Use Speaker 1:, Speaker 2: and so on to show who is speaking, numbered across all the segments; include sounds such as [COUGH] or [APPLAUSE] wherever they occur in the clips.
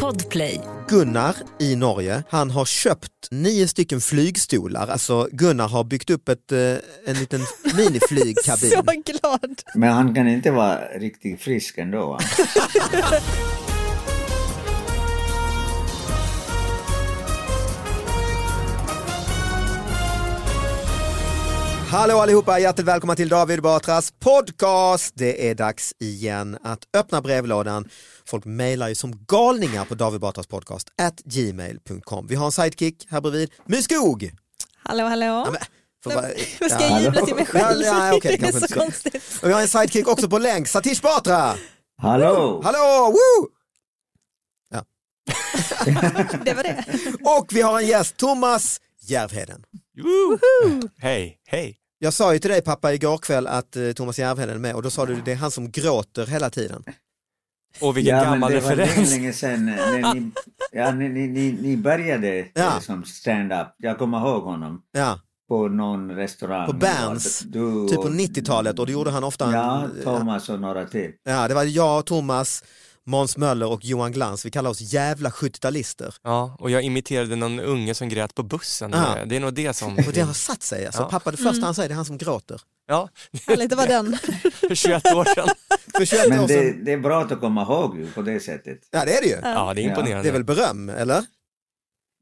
Speaker 1: Podplay.
Speaker 2: Gunnar i Norge, han har köpt nio stycken flygstolar. Alltså Gunnar har byggt upp ett, eh, en
Speaker 3: [LAUGHS]
Speaker 2: liten miniflygkabin.
Speaker 3: Så glad!
Speaker 4: Men han kan inte vara riktigt frisk
Speaker 2: [LAUGHS]
Speaker 4: ändå va?
Speaker 2: Hallå allihopa, hjärtligt välkomna till David Batras podcast. Det är dags igen att öppna brevlådan. Folk mejlar ju som galningar på David Batras podcast at gmail.com. Vi har en sidekick här bredvid, My Skog.
Speaker 3: Hallå, hallå.
Speaker 2: Ja, men, får
Speaker 3: Nej,
Speaker 2: bara-
Speaker 3: Vad ska jag
Speaker 2: Ja.
Speaker 3: jubla till mig själv?
Speaker 2: Ja, nej, okej,
Speaker 3: det är
Speaker 2: kanske
Speaker 3: så
Speaker 2: inte.
Speaker 3: konstigt.
Speaker 2: Och vi har en sidekick också på länk, Satish Batra.
Speaker 4: Hallå!
Speaker 2: Hallå! Woo!
Speaker 3: Det var det.
Speaker 2: Och vi har en gäst, Thomas Järvheden.
Speaker 5: Hej, hej.
Speaker 2: Jag sa ju till dig pappa igår kväll att eh, Thomas Järvheden är med och då sa du det är han som gråter hela tiden.
Speaker 5: Och vilken
Speaker 4: men
Speaker 5: gammal
Speaker 4: det var
Speaker 5: referens.
Speaker 4: länge, länge sedan eh,
Speaker 2: [LAUGHS]
Speaker 4: när ni, ja, ni, ni, ni, ni började eh,
Speaker 2: Ja.
Speaker 4: som stand-up. Jag kommer ihåg honom
Speaker 2: Ja,
Speaker 4: på någon restaurang.
Speaker 2: På Berns,
Speaker 4: Du,
Speaker 2: typ på 90-talet och det gjorde han ofta.
Speaker 4: Ja, Thomas och några till.
Speaker 2: Ja, det var jag, Thomas, Måns Möller och Johan Glans. Vi kallar oss jävla 70-talister.
Speaker 5: Ja, och jag imiterade någon unge som grät på bussen.
Speaker 2: Ja.
Speaker 5: Det är nog det som...
Speaker 2: Och det har satt sig. Alltså,
Speaker 5: Ja. Mm.
Speaker 2: Pappa, det första han säger det är han som gråter.
Speaker 5: Ja,
Speaker 3: Härligt att vara den.
Speaker 5: för 21 år [LAUGHS] sedan.
Speaker 2: För 21
Speaker 4: Men
Speaker 2: år
Speaker 4: det,
Speaker 2: sedan.
Speaker 4: det är bra att komma ihåg ju på det sättet.
Speaker 2: Ja, det är det ju.
Speaker 5: Ja, det är
Speaker 4: Ja.
Speaker 5: imponerande.
Speaker 2: Det är väl beröm, eller?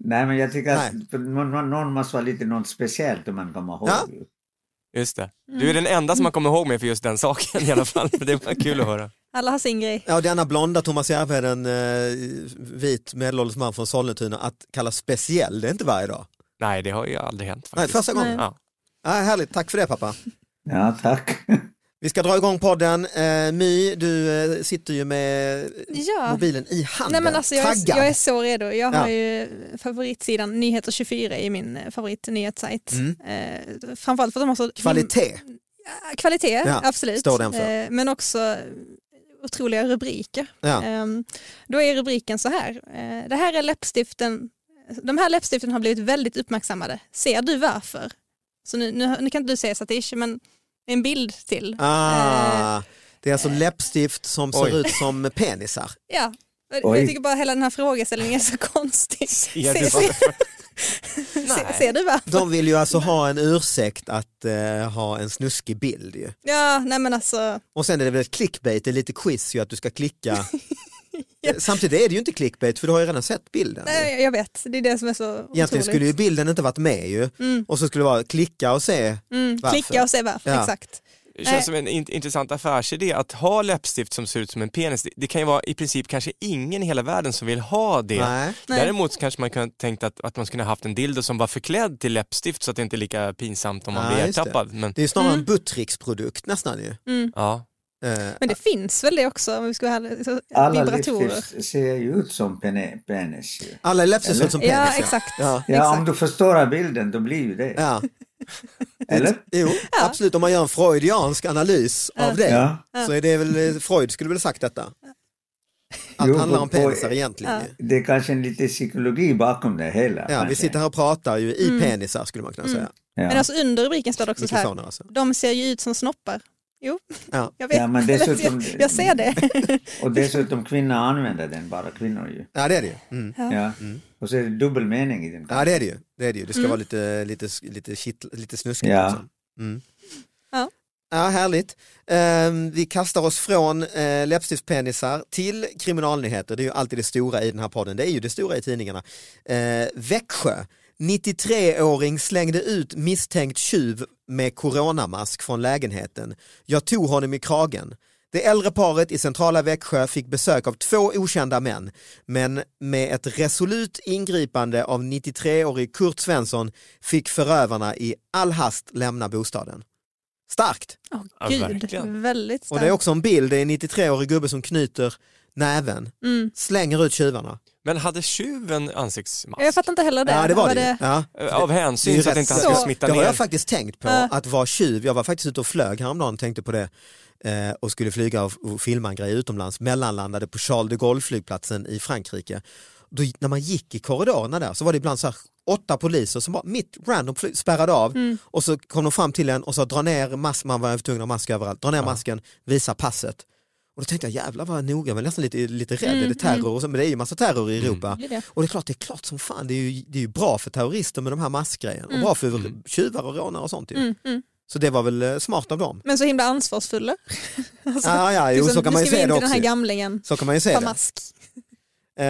Speaker 4: Nej, men jag tycker att för någon, någon- någon måste vara lite något speciellt om man kommer ihåg.
Speaker 2: Ja.
Speaker 4: ju.
Speaker 5: Just det. Du är den enda som har kommit ihåg mig för just den saken i alla fall. Det var kul att höra.
Speaker 3: Alla har sin grej.
Speaker 2: Ja, och denna blonda Thomas Järvheden, eh, vit medelålders man från Sollentuna, att kallas speciell, det är inte varje dag.
Speaker 5: Nej, det har ju aldrig hänt
Speaker 2: Nej,
Speaker 5: faktiskt.
Speaker 2: första gången.
Speaker 3: Nej.
Speaker 5: Ja.
Speaker 2: Ja, härligt, tack för det pappa.
Speaker 4: Ja, tack. [LAUGHS]
Speaker 2: Vi ska dra igång podden. Eh, My, du eh, sitter ju med
Speaker 3: Ja.
Speaker 2: mobilen i handen,
Speaker 3: Nej, men alltså, jag, är,
Speaker 2: taggad.
Speaker 3: jag är så redo. Jag
Speaker 2: Ja.
Speaker 3: har ju favoritsidan Nyheter24 i min eh, favoritnyhetssajt.
Speaker 2: Mm.
Speaker 3: Eh, framförallt för att de har så...
Speaker 2: Kvalitet.
Speaker 3: Mm. Ja, Kvalitet,
Speaker 2: Ja,
Speaker 3: absolut.
Speaker 2: står den för.
Speaker 3: Eh, men också otroliga rubriker.
Speaker 2: Ja.
Speaker 3: Ehm, Då är rubriken så här. eh, Det här är läppstiften. De här läppstiften har blivit väldigt uppmärksammade. Ser du varför? Så nu, nu, nu kan inte du säga Satish, men en bild till.
Speaker 2: Ah, det är alltså läppstift som ser
Speaker 5: Oj.
Speaker 2: ut som penisar.
Speaker 3: Ja.
Speaker 4: Oj.
Speaker 3: Jag tycker bara hela den här frågeställningen är så konstig.
Speaker 5: Ja,
Speaker 3: Se-
Speaker 5: du
Speaker 3: se-
Speaker 5: var...
Speaker 3: se- Ser du varför?
Speaker 2: De vill ju alltså ha en ursäkt att eh, ha en snuskig bild ju.
Speaker 3: Ja, nej men alltså.
Speaker 2: Och sen är det väl ett clickbait, det är lite quiz ju att du ska
Speaker 3: [LAUGHS]
Speaker 2: klicka. Eh, Samtidigt är det ju inte clickbait för du har ju redan sett bilden. ju.
Speaker 3: Nej, jag vet, det är det som är så
Speaker 2: Egentligen
Speaker 3: otroligt.
Speaker 2: skulle ju bilden inte varit med ju.
Speaker 3: Mm.
Speaker 2: Och så skulle det vara klicka och se.
Speaker 3: mm,
Speaker 2: Varför?
Speaker 3: klicka och se varför,
Speaker 2: Ja.
Speaker 3: exakt.
Speaker 5: Det känns som en in- intressant affärsidé att ha läppstift som ser ut som en penis. Det, det kan ju vara i princip kanske ingen i hela världen som vill ha det.
Speaker 2: Nej.
Speaker 3: Nej.
Speaker 5: Däremot så kanske man kunde tänkt att, att man skulle ha haft en dildo som var förklädd till läppstift så att det inte är lika pinsamt om man
Speaker 2: Ja,
Speaker 5: blir
Speaker 2: just det.
Speaker 5: ertappad. Men,
Speaker 2: Det är ju snarare en
Speaker 3: Mm.
Speaker 2: Buttricks-produkt nästan ju.
Speaker 5: ja.
Speaker 2: Eh,
Speaker 3: Men det finns väl det också, om vi ska ha så-
Speaker 4: Alla
Speaker 3: vibratorer.
Speaker 4: livstips ser ju ut som pene- penis. Ju.
Speaker 2: Alla läppar ser
Speaker 4: Eller?
Speaker 2: ut som penis.
Speaker 3: Ja, exakt.
Speaker 2: Ja.
Speaker 4: Ja,
Speaker 3: Exakt.
Speaker 4: om du förstår bilden då blir ju det.
Speaker 2: Ja.
Speaker 4: Eller?
Speaker 2: Jo, absolut. Om man gör en freudiansk analys av det
Speaker 4: Ja.
Speaker 2: så är det väl, eh, Freud skulle väl sagt detta. Allt
Speaker 4: Jo,
Speaker 2: handlar om
Speaker 4: på- på-
Speaker 2: penisar egentligen. ju.
Speaker 4: Det är kanske en lite psykologi bakom det hela.
Speaker 2: Ja, vi
Speaker 4: kanske.
Speaker 2: sitter här och pratar ju i penisar skulle man kunna säga.
Speaker 4: Ja.
Speaker 3: Men alltså under rubriken står det också Mm. så
Speaker 2: Mycket
Speaker 3: här,
Speaker 2: sådana alltså.
Speaker 3: de ser ju ut som snoppar. Jo,
Speaker 2: Ja.
Speaker 3: [LAUGHS] jag vet.
Speaker 4: Ja, men dessutom-
Speaker 3: [LAUGHS]
Speaker 2: [LAUGHS]
Speaker 3: jag, jag ser det.
Speaker 4: Och dessutom kvinnor använder den, bara kvinnor ju.
Speaker 2: ja, det är det ju. Mm.
Speaker 3: Ja.
Speaker 4: Ja. Och så är det dubbel mening i den.
Speaker 2: Ja, det är det ju. Det, är det, ju. det ska vara lite, lite, lite, kitt, lite snuskigt.
Speaker 4: Ja.
Speaker 2: Liksom. Mm.
Speaker 3: Ja.
Speaker 2: Ja, härligt. Ehm, vi kastar oss från uh, läppstiftspenisar till kriminalnyheter. Det är ju alltid det stora i den här podden. Det är ju det stora i tidningarna. Eh, Växjö. 93-åring slängde ut misstänkt tjuv med coronamask från lägenheten. Jag tog honom i kragen. Det äldre paret i centrala Växjö fick besök av två okända män, men med ett resolut ingripande av 93-årig Kurt Svensson fick förövarna i all hast lämna bostaden. Starkt!
Speaker 3: Åh
Speaker 5: Ja,
Speaker 3: gud,
Speaker 5: verkligen.
Speaker 3: väldigt
Speaker 2: Och det är
Speaker 3: starkt.
Speaker 2: också en bild, det är en 93-årig gubbe som knyter näven,
Speaker 3: Mm.
Speaker 2: slänger ut tjuvarna.
Speaker 5: Men hade tjuven ansiktsmask?
Speaker 3: Jag fattar inte heller det.
Speaker 2: Ja, det var
Speaker 3: Vad
Speaker 2: det. ju. Ja.
Speaker 5: Eh, Av
Speaker 2: Det är ju
Speaker 5: hänsyn så att
Speaker 2: rätt
Speaker 5: inte han
Speaker 3: så-
Speaker 5: skulle smitta
Speaker 2: Det har
Speaker 5: ner?
Speaker 2: jag faktiskt tänkt på,
Speaker 3: Ja.
Speaker 2: att vara tjuv. Jag var faktiskt ute och flög häromdagen och tänkte på det eh, och skulle flyga och, och filma en grej utomlands. Mellanlandade på Charles de Gaulle-flygplatsen i Frankrike. Då, när man gick i korridorerna där så var det ibland så här åtta poliser som bara mitt random fly- spärrade av och så kom de fram till en och sa dra ner masken, man var tvungen att ha mask överallt, dra ner masken, visa passet. Och då tänkte jag jävlar vad noga, jag var nästan lite, lite rädd, är det terror? Och så, men det är ju massa terror i Europa.
Speaker 3: Mm, Det är det.
Speaker 2: Och det är klart, det är klart som fan, det är ju, det är ju bra för terrorister med de här massgrejerna och bra för tjuvar och rånare och sånt ju.
Speaker 3: Mm, mm.
Speaker 2: Så det var väl eh, smart av dem.
Speaker 3: Men så himla ansvarsfulla. [LAUGHS] alltså,
Speaker 2: Ah, ja, jo,
Speaker 3: liksom,
Speaker 2: så kan man ju
Speaker 3: nu ska
Speaker 2: se
Speaker 3: vi in
Speaker 2: det
Speaker 3: till den
Speaker 2: också.
Speaker 3: här
Speaker 2: ju.
Speaker 3: gamlingen,
Speaker 2: Så kan man ju se det.
Speaker 3: Pamask.
Speaker 2: Eh,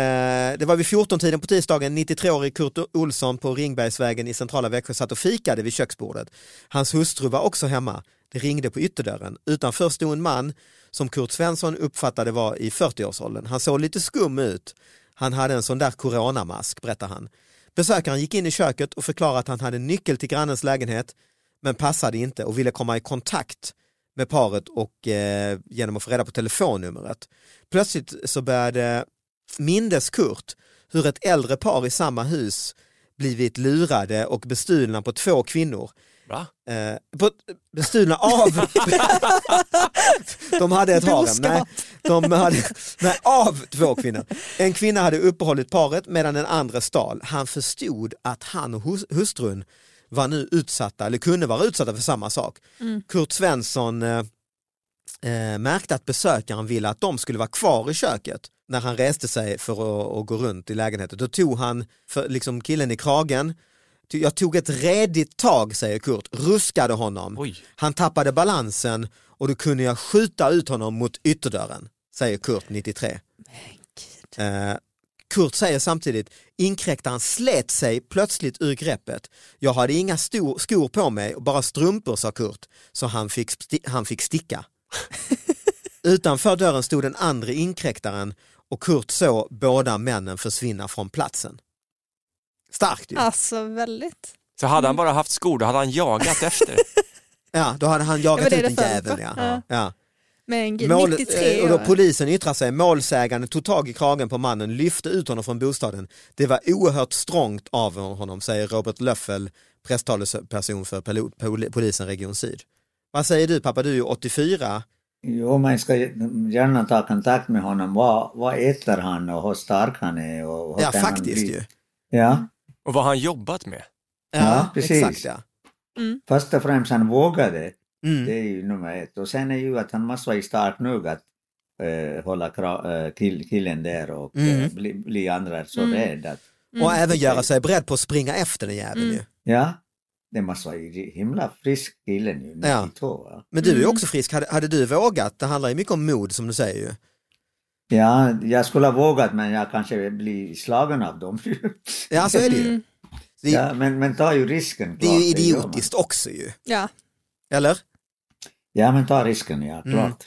Speaker 2: det var vid 14-tiden på tisdagen, 93-årig Kurt Olsson på Ringbergsvägen i centrala Växjö satt och fikade vid köksbordet. Hans hustru var också hemma. Det ringde på ytterdörren. Utanför stod en man som Kurt Svensson uppfattade var i 40-årsåldern. Han såg lite skum ut. Han hade en sån där coronamask, berättar han. Besökaren gick in i köket och förklarade att han hade nyckel till grannens lägenhet men passade inte och ville komma i kontakt med paret och eh, genom att få reda på telefonnumret. Plötsligt så började mindes Kurt hur ett äldre par i samma hus blivit lurade och bestulna på två kvinnor.
Speaker 5: Va?
Speaker 2: Eh, på, bestulna av... de hade ett harem.
Speaker 3: Boskap.
Speaker 2: Nej, de hade, nej, av två kvinnor. En kvinna hade uppehållit paret medan den andra stal. Han förstod att han och hus- hustrun var nu utsatta, eller kunde vara utsatta för samma sak. Kurt Svensson eh, eh, märkte att besökaren ville att de skulle vara kvar i köket när han reste sig för att, att gå runt i lägenheten. Då tog han för, liksom killen i kragen. Ty- Jag tog ett redigt tag, säger Kurt, ruskade honom.
Speaker 5: Oj.
Speaker 2: Han tappade balansen och då kunde jag skjuta ut honom mot ytterdörren, säger Kurt 93. Eh, Kurt säger samtidigt, inkräktaren slet sig plötsligt ur greppet. Jag hade inga stor, skor på mig, bara strumpor sa Kurt, så han fick, sti- han fick sticka. Utanför dörren stod den andra inkräktaren och Kurt såg båda männen försvinna från platsen. Starkt ju.
Speaker 3: Alltså väldigt.
Speaker 5: Så hade
Speaker 3: Mm.
Speaker 5: han bara haft skor, då hade
Speaker 2: [LAUGHS]
Speaker 5: han jagat efter.
Speaker 2: Ja, då hade han
Speaker 3: Ja, men
Speaker 2: jagat
Speaker 3: det är
Speaker 2: ut den
Speaker 3: det förut,
Speaker 2: jäveln.
Speaker 3: va?
Speaker 2: Ja. Ja.
Speaker 3: Men gud,
Speaker 2: Mål-
Speaker 3: 93
Speaker 2: eh, och då
Speaker 3: år.
Speaker 2: polisen yttrar sig, målsäganden tog tag i kragen på mannen, lyfte ut honom från bostaden. Det var oerhört strångt av honom, säger Robert Löffel, presstalesperson för polo- pol- polisen Region Syd. Vad säger du pappa, du är ju 84.
Speaker 4: Jo, man ska gärna ta kontakt med honom. Vad, vad äter han och hur stark han är? Och hur
Speaker 2: Ja,
Speaker 4: kan han
Speaker 2: faktiskt
Speaker 4: bli?
Speaker 2: ju.
Speaker 4: Ja,
Speaker 5: Och vad har han jobbat med?
Speaker 4: Ja, precis.
Speaker 2: Exakt, ja.
Speaker 4: först och främst han vågade. Det
Speaker 2: Mm.
Speaker 4: är ju nummer ett. Och sen är ju att han måste vara stark nog att eh, hålla kra- eh, kill, killen där och
Speaker 2: Mm.
Speaker 4: eh, bli, bli andra så
Speaker 3: Mm.
Speaker 4: rädd. Att,
Speaker 2: Och även göra sig beredd på att springa efter den jäveln
Speaker 3: Mm.
Speaker 2: ju.
Speaker 4: ja, det måste vara ju himla frisk killen ju, 92.
Speaker 2: Ja.
Speaker 4: Ja.
Speaker 2: Men du är ju
Speaker 3: Mm.
Speaker 2: också frisk, hade, hade du vågat, det handlar ju mycket om mod som du säger ju.
Speaker 4: ja, jag skulle ha vågat men jag kanske blir slagen av dem. [LAUGHS]
Speaker 2: Ja, så är det ju.
Speaker 3: Mm.
Speaker 2: Det är,
Speaker 4: ja, men, men ta ju risken.
Speaker 2: det är ju
Speaker 4: klart, det gör man.
Speaker 2: idiotiskt också ju.
Speaker 3: Ja,
Speaker 2: Eller?
Speaker 4: Ja, men ta risken, ja,
Speaker 2: Mm.
Speaker 4: klart.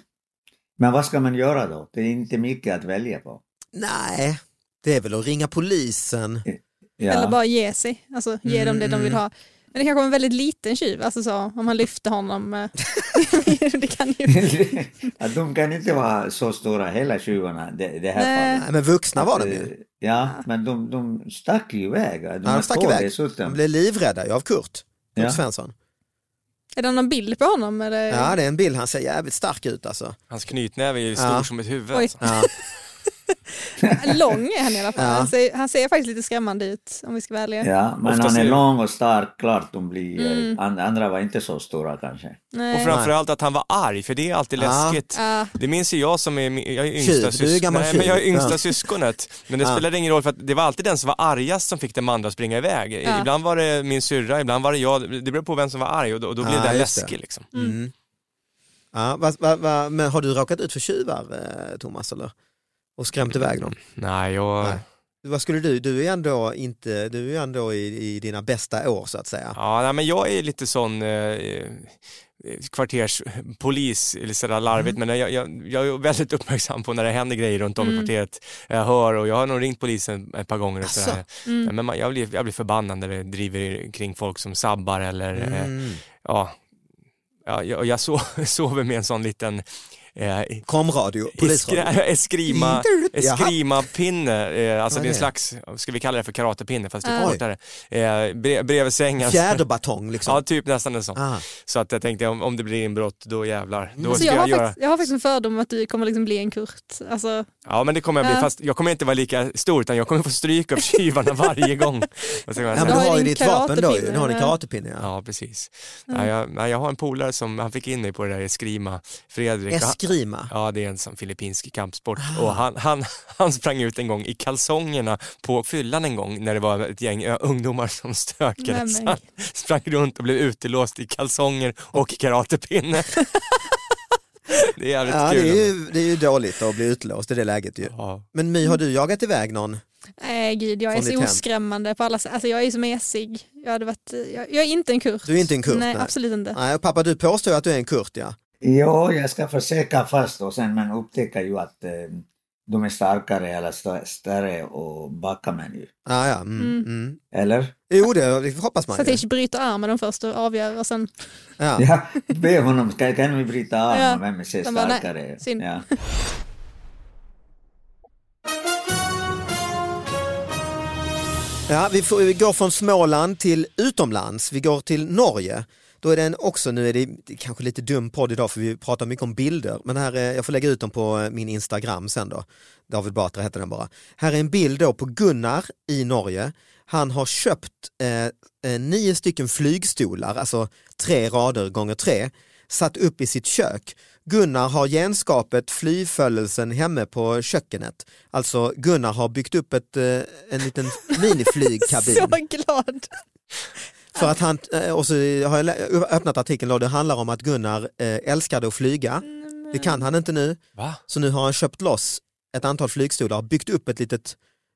Speaker 4: Men vad ska man göra då? Det är inte mycket att välja på.
Speaker 2: Nej, det är väl att ringa polisen.
Speaker 4: Ja,
Speaker 3: eller
Speaker 4: [LAUGHS]
Speaker 3: bara ge sig. Alltså ge dem det de
Speaker 2: Mm,
Speaker 3: vill ha. Men det kanske var en väldigt liten tjuv, alltså så, om han lyfte
Speaker 2: [LAUGHS]
Speaker 3: honom. eh, det kan ju...
Speaker 4: att de kan inte vara så stora, hela tjuvarna, det, det här
Speaker 3: Nej.
Speaker 2: Nej,
Speaker 4: fallet.
Speaker 2: men vuxna var de ju.
Speaker 4: Eh, Ja, men de, de stack ju iväg. De
Speaker 2: Ja,
Speaker 4: var
Speaker 2: de stack
Speaker 4: två
Speaker 2: iväg.
Speaker 4: Dessutom.
Speaker 2: De blev livrädda ju av Kurt, Kurt
Speaker 4: Ja.
Speaker 2: Svensson.
Speaker 3: Är det någon bild på honom? Eller?
Speaker 2: Ja, det är en bild, han ser jävligt stark ut alltså.
Speaker 5: Hans knytnäve är ju stor
Speaker 2: Ja.
Speaker 5: som ett huvud.
Speaker 3: Oj.
Speaker 5: Alltså.
Speaker 2: Ja,
Speaker 3: Lång är han i alla fall.
Speaker 2: Ja.
Speaker 3: Han, ser, han ser faktiskt lite skrämmande ut om vi ska vara ärliga.
Speaker 4: Ja, men
Speaker 5: Ofta
Speaker 4: han
Speaker 5: ser
Speaker 4: är
Speaker 5: jag-
Speaker 4: lång och stark, klart de blir... eh,
Speaker 3: Mm.
Speaker 4: an- Andra var inte så stora kanske.
Speaker 5: Och
Speaker 3: Nej.
Speaker 5: framförallt att han var arg, för det är alltid
Speaker 2: Ja.
Speaker 5: läskigt.
Speaker 3: Ja,
Speaker 5: Det minns ju jag som är, jag är
Speaker 2: Tjuv, du
Speaker 5: yngsta,
Speaker 2: är gammal
Speaker 5: Nej, men jag är
Speaker 2: tjuv.
Speaker 5: yngsta
Speaker 2: Ja.
Speaker 5: syskonet. Men det
Speaker 2: Ja.
Speaker 5: spelade ingen roll för att det var alltid den som var argast som fick den andra att springa iväg.
Speaker 3: Ja.
Speaker 5: Ibland var det min syrra, ibland var det jag. Det beror på vem som var arg och då, och då blev
Speaker 2: Ja,
Speaker 5: den
Speaker 2: just det.
Speaker 5: läskig. Liksom.
Speaker 2: mm. ja vad- vad- vad- men har du råkat ut för tjuvar, eh, Thomas, eller? Och skrämt iväg dem?
Speaker 5: Nej, jag...
Speaker 2: Nej. Vad skulle du, du är ju ändå, inte, du är ju ändå i, i dina bästa år så att säga.
Speaker 5: Ja, nej, men jag är lite sån eh, eh, kvarterspolis, eller sådär
Speaker 2: Mm.
Speaker 5: larvigt, men jag, jag, jag är väldigt uppmärksam på när det händer grejer runt om i kvarteret. Jag hör och jag har nog ringt polisen ett par gånger och
Speaker 2: Asså?
Speaker 5: sådär. Ja, Men man, jag, blir, jag blir förbannad när det driver kring folk som sabbar eller eh,
Speaker 2: Mm.
Speaker 5: ja, ja, jag, jag so- [LAUGHS] sover med en sån liten eh,
Speaker 2: Komradio, polisradio.
Speaker 5: eskri- [LAUGHS] eskrima,
Speaker 2: Jaha.
Speaker 5: eskrimapinne, eh, alltså
Speaker 2: Vad är det?
Speaker 5: det är en slags, ska vi kalla det för karatepinne fast lite
Speaker 2: Ah.
Speaker 5: kortare, eh, bre- bredvid sängen.
Speaker 2: Fjäderbatong liksom.
Speaker 5: [LAUGHS] Ja, typ nästan en sån.
Speaker 2: Ah.
Speaker 5: Så att jag tänkte om, om det blir inbrott, då jävlar. Då
Speaker 3: Alltså
Speaker 5: ska
Speaker 3: jag,
Speaker 5: jag,
Speaker 3: har
Speaker 5: göra...
Speaker 3: faktiskt, jag har faktiskt en fördom om att du kommer liksom bli en Kurt. Alltså,
Speaker 5: Ja men det kommer jag bli,
Speaker 3: Ja.
Speaker 5: fast jag kommer inte vara lika stor utan jag kommer få stryk av tjuvarna varje gång. Vad ska man
Speaker 2: Ja, men du
Speaker 5: säga?
Speaker 3: har ju
Speaker 2: har ju
Speaker 3: din
Speaker 2: ditt vapen då ju,
Speaker 3: karatepinne,
Speaker 2: du har din
Speaker 3: men-
Speaker 2: karatepinne ja.
Speaker 5: Ja precis. Ja, jag, nej, jag har en polare som, han fick in mig på det där Eskrima, Fredrik. Och han-
Speaker 2: eskrima.
Speaker 5: Ja, det är en sån filippinsk kampsport.
Speaker 3: Ah.
Speaker 5: Och han, han, han sprang ut en gång i kalsongerna på fyllan en gång när det var ett gäng ö, ungdomar som
Speaker 3: Nej,
Speaker 5: stökade. Så
Speaker 3: men-
Speaker 5: han sprang runt och blev utelåst i kalsonger och
Speaker 3: [LAUGHS]
Speaker 5: karatepinne. det är jävligt
Speaker 2: Ja,
Speaker 5: kul.
Speaker 2: det, är ju, det är ju dåligt att bli utlåst i det läget ju.
Speaker 5: Ja.
Speaker 2: Men My, har du jagat iväg någon?
Speaker 3: Nej gud, jag är
Speaker 2: Från ditt
Speaker 3: så
Speaker 2: hem.
Speaker 3: oskrämmande på alla sätt. Alltså jag är ju så mesig. Jag, hade varit, jag, jag är inte en kurt.
Speaker 2: Du är inte en kurt,
Speaker 3: Nej,
Speaker 2: nej. Ah,
Speaker 3: absolut inte.
Speaker 2: Nej, och pappa du påstår ju att du är en kurt ja.
Speaker 4: Jo, jag ska försöka först och sen man upptäcker ju att eh, de är starkare eller stö- större och backar man ju.
Speaker 2: Ah, ja mm, mm.
Speaker 3: Mm.
Speaker 4: Eller?
Speaker 2: Jo, det, det hoppas man ju.
Speaker 3: Satish bryter armen dem först och avgör och sen,
Speaker 2: Ja.
Speaker 4: Ja, be honom, ska, kan vi bryta av
Speaker 3: Ja.
Speaker 4: vem är
Speaker 3: De bara, nej,
Speaker 4: starkare?
Speaker 3: synd.
Speaker 4: Ja.
Speaker 2: Ja, vi, får, vi går från Småland till utomlands, vi går till Norge. Då är den också, nu är det det är kanske lite dum podd idag för vi pratar mycket om bilder, men här, eh, jag får lägga ut dem på eh, min Instagram sen då. David Batra heter den bara. Här är en bild då på Gunnar i Norge. Han har köpt eh, eh, nio stycken flygstolar, alltså tre rader gånger tre, satt upp i sitt kök. Gunnar har genskapet flyföljelsen hemme på kökenet. Alltså Gunnar har byggt upp ett, eh, en liten
Speaker 3: så
Speaker 2: miniflygkabin.
Speaker 3: [LAUGHS] glad.
Speaker 2: För att han, eh, och så har jag lä- öppnat artikeln då, det handlar om att Gunnar eh, älskade att flyga. Det kan han inte nu,
Speaker 5: Va?
Speaker 2: så nu har han köpt loss ett antal flygstolar och byggt upp ett litet,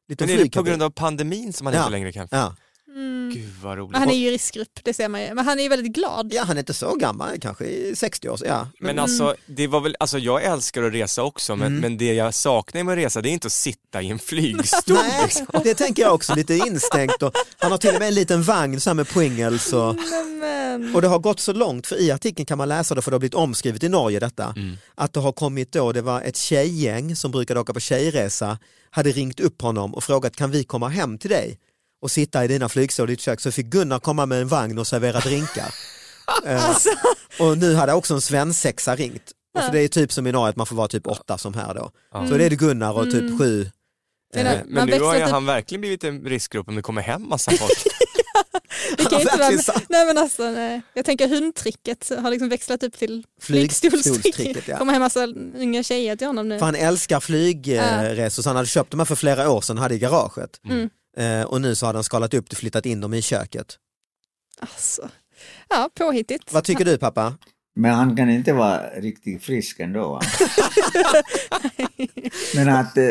Speaker 2: litet
Speaker 5: Men är det på grund
Speaker 2: flygkabin.
Speaker 5: av pandemin som han
Speaker 2: Ja.
Speaker 5: inte längre kan...
Speaker 2: Ja.
Speaker 3: Mm.
Speaker 5: Gud vad roligt.
Speaker 3: Men han är ju i riskgrupp, det ser man ju. Men han är ju väldigt glad.
Speaker 2: ja, han är inte så gammal, kanske i 60 års, ja.
Speaker 5: Men
Speaker 3: Mm.
Speaker 5: alltså, det var väl, alltså, jag älskar att resa också men,
Speaker 2: Mm.
Speaker 5: men det jag saknar med att resa det är inte att sitta
Speaker 3: [LAUGHS]
Speaker 5: i en flygstol.
Speaker 2: Nej,
Speaker 5: liksom.
Speaker 2: det tänker jag också, lite instängt. Och han har till och med en liten vagn så här med poängels. Och,
Speaker 3: Men,
Speaker 2: och det har gått så långt, för i artikeln kan man läsa det, för det har blivit omskrivet i Norge detta, att det har kommit då, det var ett tjejgäng som brukade åka på tjejresa, hade ringt upp honom och frågat kan vi komma hem till dig och sitta i dina flygstol i ditt kök? Så fick Gunnar komma med en vagn och servera drinkar. Eh,
Speaker 3: alltså,
Speaker 2: och nu hade också en svensexa ringt. Och för det är typ som i Norge att man får vara typ åtta som här då.
Speaker 5: Ja.
Speaker 2: Så det är det Gunnar och typ sju
Speaker 3: men,
Speaker 2: Eh,
Speaker 5: Men nu har
Speaker 3: växlar
Speaker 5: ju
Speaker 3: typ-
Speaker 5: han verkligen blivit en riskgrupp om det kommer hem massa folk.
Speaker 3: Det kan
Speaker 2: Ja,
Speaker 3: ju inte vara
Speaker 2: verkligen
Speaker 3: med.
Speaker 2: sant.
Speaker 3: Nej men alltså, nej. jag tänker hundtricket har liksom växlat upp till
Speaker 2: Flygstolstricket,
Speaker 3: flygstolstricket.
Speaker 2: ja.
Speaker 3: Kommer hem massa unga tjejer till honom nu.
Speaker 2: För han älskar flygresor, så han hade köpt dem här för flera år sedan och hade i garaget.
Speaker 3: Mm.
Speaker 2: Eh, Och nu så hade han skalat upp det och flyttat in dem i köket.
Speaker 3: Alltså. Ja, påhittigt.
Speaker 2: Vad tycker du pappa?
Speaker 4: Men han kan inte vara riktigt frisk ändå.
Speaker 2: [LAUGHS]
Speaker 4: va? men att eh,